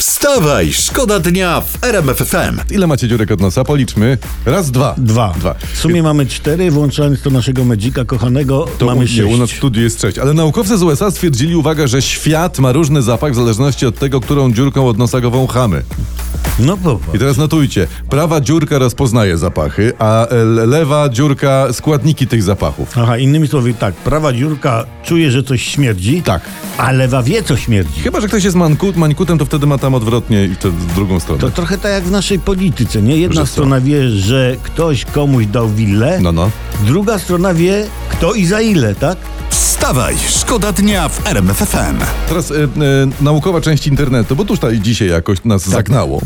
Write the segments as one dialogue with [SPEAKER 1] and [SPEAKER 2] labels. [SPEAKER 1] Wstawaj, szkoda dnia w RMFFM.
[SPEAKER 2] Ile macie dziurek od nosa? Policzmy. Raz, dwa.
[SPEAKER 3] Dwa.
[SPEAKER 2] Dwa.
[SPEAKER 3] W sumie mamy cztery, włączając do naszego Medzika kochanego,
[SPEAKER 2] To u,
[SPEAKER 3] mamy
[SPEAKER 2] nie, u nas w
[SPEAKER 3] sześć.
[SPEAKER 2] studiu jest sześć. Ale naukowcy z USA stwierdzili, uwaga, że świat ma różny zapach w zależności od tego, którą dziurką od nosa go wąchamy.
[SPEAKER 3] No popatrz.
[SPEAKER 2] I teraz notujcie. Prawa dziurka rozpoznaje zapachy, a e, lewa dziurka składniki tych zapachów.
[SPEAKER 3] Aha, innymi słowy, tak, prawa dziurka czuje, że coś śmierdzi,
[SPEAKER 2] Tak.
[SPEAKER 3] a lewa wie, co śmierdzi.
[SPEAKER 2] Chyba, że ktoś jest manku, mańkutem, to wtedy ma tam odwrotnie i to w drugą stronę.
[SPEAKER 3] To trochę tak jak w naszej polityce, nie? Jedna
[SPEAKER 2] Że co?
[SPEAKER 3] strona wie, że ktoś komuś dał willę,
[SPEAKER 2] No, no.
[SPEAKER 3] druga strona wie, kto i za ile, tak?
[SPEAKER 1] Wstawaj, szkoda dnia w RMFFM.
[SPEAKER 2] Teraz y, y, naukowa część internetu, bo tuż ta i dzisiaj jakoś nas zagnało.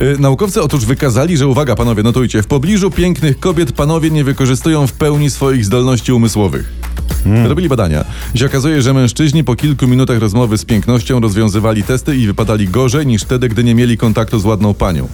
[SPEAKER 2] Y, naukowcy otóż wykazali, że uwaga panowie, notujcie, w pobliżu pięknych kobiet panowie nie wykorzystują w pełni swoich zdolności umysłowych. Robili badania. I się okazuje, że mężczyźni po kilku minutach rozmowy z pięknością rozwiązywali testy i wypadali gorzej niż wtedy, gdy nie mieli kontaktu z ładną panią.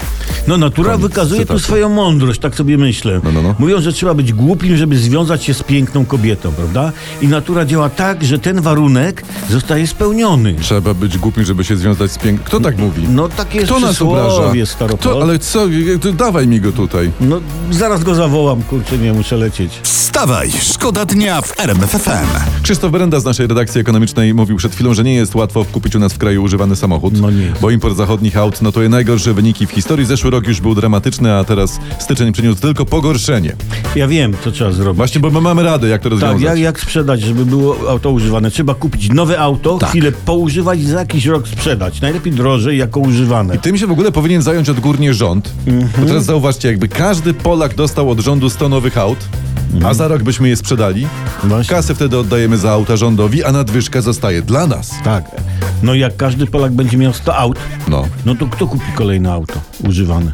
[SPEAKER 3] No natura
[SPEAKER 2] Koniec
[SPEAKER 3] wykazuje
[SPEAKER 2] cytatu.
[SPEAKER 3] tu swoją mądrość, tak sobie myślę.
[SPEAKER 2] no, no.
[SPEAKER 3] Mówią, że trzeba być głupim, żeby związać się z piękną kobietą, prawda? I natura działa tak, że ten warunek zostaje spełniony.
[SPEAKER 2] Trzeba być głupim, żeby się związać z piękną. Kto tak mówi?
[SPEAKER 3] No takie jest
[SPEAKER 2] Kto nas obraża?
[SPEAKER 3] przysłowie, staropol.
[SPEAKER 2] Kto, ale co? E, To dawaj mi go tutaj.
[SPEAKER 3] No zaraz go zawołam, kurczę, nie muszę lecieć.
[SPEAKER 1] Wstawaj, szkoda dnia w RMFFM.
[SPEAKER 2] Krzysztof Berenda z naszej redakcji ekonomicznej mówił przed chwilą, że nie jest łatwo kupić u nas w kraju używany samochód.
[SPEAKER 3] No nie jest.
[SPEAKER 2] Bo import zachodnich aut notuje najgorsze wyniki w historii. Zeszły rok już był dramatyczny, a teraz styczeń przyniósł tylko pogorszenie.
[SPEAKER 3] Ja wiem, co trzeba zrobić.
[SPEAKER 2] Właśnie, bo my mamy radę, jak to
[SPEAKER 3] Tak,
[SPEAKER 2] rozwiązać.
[SPEAKER 3] jak, jak sprzedać, żeby było auto używane? Trzeba kupić nowe auto,
[SPEAKER 2] Tak.
[SPEAKER 3] chwilę poużywać i za jakiś rok sprzedać. Najlepiej drożej jako używane.
[SPEAKER 2] Tym się w ogóle powinien zająć odgórnie rząd.
[SPEAKER 3] Mhm.
[SPEAKER 2] Bo teraz zauważcie, jakby każdy Polak dostał od rządu 100 nowych aut, a za rok byśmy je sprzedali,
[SPEAKER 3] Właśnie.
[SPEAKER 2] kasę wtedy oddajemy za auta rządowi, a nadwyżka zostaje dla nas.
[SPEAKER 3] Tak. No jak każdy Polak będzie miał 100 aut,
[SPEAKER 2] No.
[SPEAKER 3] no to kto kupi kolejne auto używane?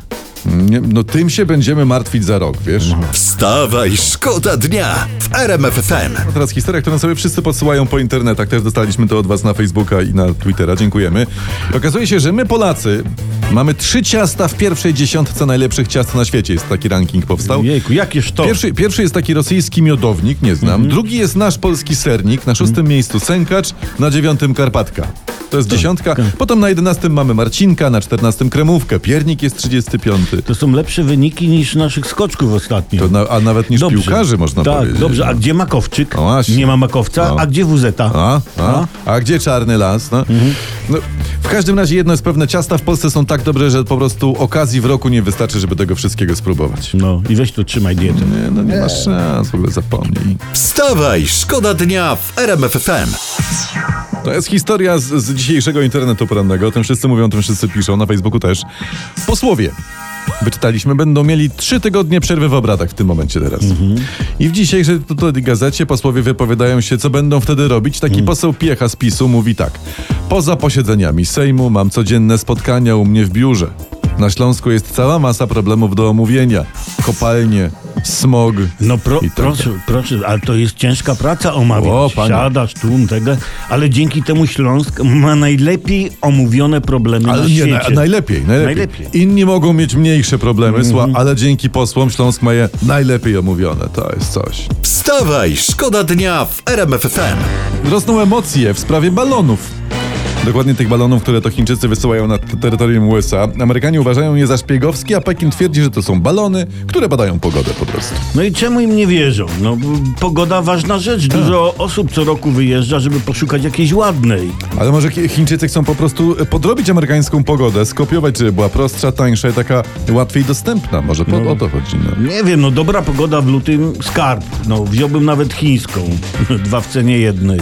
[SPEAKER 2] Nie, no tym się będziemy martwić za rok, wiesz?
[SPEAKER 3] No.
[SPEAKER 1] Wstawaj, szkoda dnia w RMFFM.
[SPEAKER 2] Teraz historia, którą sobie wszyscy podsyłają po internetach. Też dostaliśmy to od was na Facebooka i na Twittera. Dziękujemy. I okazuje się, że my Polacy mamy trzy ciasta w pierwszej dziesiątce najlepszych ciast na świecie. Jest taki ranking powstał.
[SPEAKER 3] Jejku, jakież to?
[SPEAKER 2] Pierwszy, pierwszy jest taki rosyjski miodownik, nie znam.
[SPEAKER 3] Mhm.
[SPEAKER 2] Drugi jest nasz polski sernik, na szóstym miejscu sękacz, na dziewiątym karpatka. To
[SPEAKER 3] Tak.
[SPEAKER 2] jest dziesiątka. Potem na jedenastym mamy Marcinka, na czternastym kremówkę, piernik jest trzydziesty piąty.
[SPEAKER 3] To są lepsze wyniki niż naszych skoczków ostatnio.
[SPEAKER 2] To na, a nawet niż
[SPEAKER 3] Dobrze.
[SPEAKER 2] piłkarzy można
[SPEAKER 3] tak,
[SPEAKER 2] powiedzieć.
[SPEAKER 3] dobrze. A gdzie Makowczyk?
[SPEAKER 2] No właśnie.
[SPEAKER 3] Nie ma Makowca.
[SPEAKER 2] No.
[SPEAKER 3] A gdzie No. WZ?
[SPEAKER 2] A, a, a gdzie czarny las? No. No, w każdym razie jedno jest pewne, ciasta w Polsce są tak dobre, że po prostu okazji w roku nie wystarczy, żeby tego wszystkiego spróbować.
[SPEAKER 3] No i weź tu trzymaj dietę.
[SPEAKER 2] Nie, no nie masz szans, w ogóle zapomnij.
[SPEAKER 1] Wstawaj, szkoda dnia w RMFFM.
[SPEAKER 2] To jest historia z, z dzisiejszego internetu porannego, o tym wszyscy mówią, o tym wszyscy piszą, na Facebooku też. Posłowie, wyczytaliśmy, będą mieli trzy tygodnie przerwy w obradach w tym momencie teraz. I w dzisiejszej tutaj gazecie posłowie wypowiadają się, co będą wtedy robić. Taki poseł Piecha z PiSu mówi tak. Poza posiedzeniami Sejmu mam codzienne spotkania u mnie w biurze. Na Śląsku jest cała masa problemów do omówienia. Kopalnie, smog.
[SPEAKER 3] No pro,
[SPEAKER 2] i tak
[SPEAKER 3] proszę, proszę, ale to jest ciężka praca omawiać.
[SPEAKER 2] O, panie.
[SPEAKER 3] Siadasz tu, tego, ale dzięki temu Śląsk ma najlepiej omówione problemy na
[SPEAKER 2] Ale nie,
[SPEAKER 3] świecie.
[SPEAKER 2] na, najlepiej, najlepiej.
[SPEAKER 3] Najlepiej. Mhm.
[SPEAKER 2] Inni mogą mieć mniejsze problemy, sła, ale dzięki posłom Śląsk ma je najlepiej omówione. To jest coś.
[SPEAKER 1] Wstawaj, szkoda dnia w RMFFM.
[SPEAKER 2] Rosną emocje w sprawie balonów. Dokładnie tych balonów, które to Chińczycy wysyłają na t- terytorium USA. Amerykanie uważają je za szpiegowskie, a Pekin twierdzi, że to są balony, które badają pogodę po prostu.
[SPEAKER 3] No i czemu im nie wierzą? No, b- pogoda ważna rzecz.
[SPEAKER 2] Tak.
[SPEAKER 3] Dużo osób co roku wyjeżdża, żeby poszukać jakiejś ładnej.
[SPEAKER 2] Ale może Chi- Chińczycy chcą po prostu e, podrobić amerykańską pogodę, skopiować, żeby była prostsza, tańsza i taka łatwiej dostępna. Może po, o to chodzi. No.
[SPEAKER 3] Nie wiem, no dobra pogoda w lutym skarb. No, wziąłbym nawet chińską. Dwa w cenie jednej.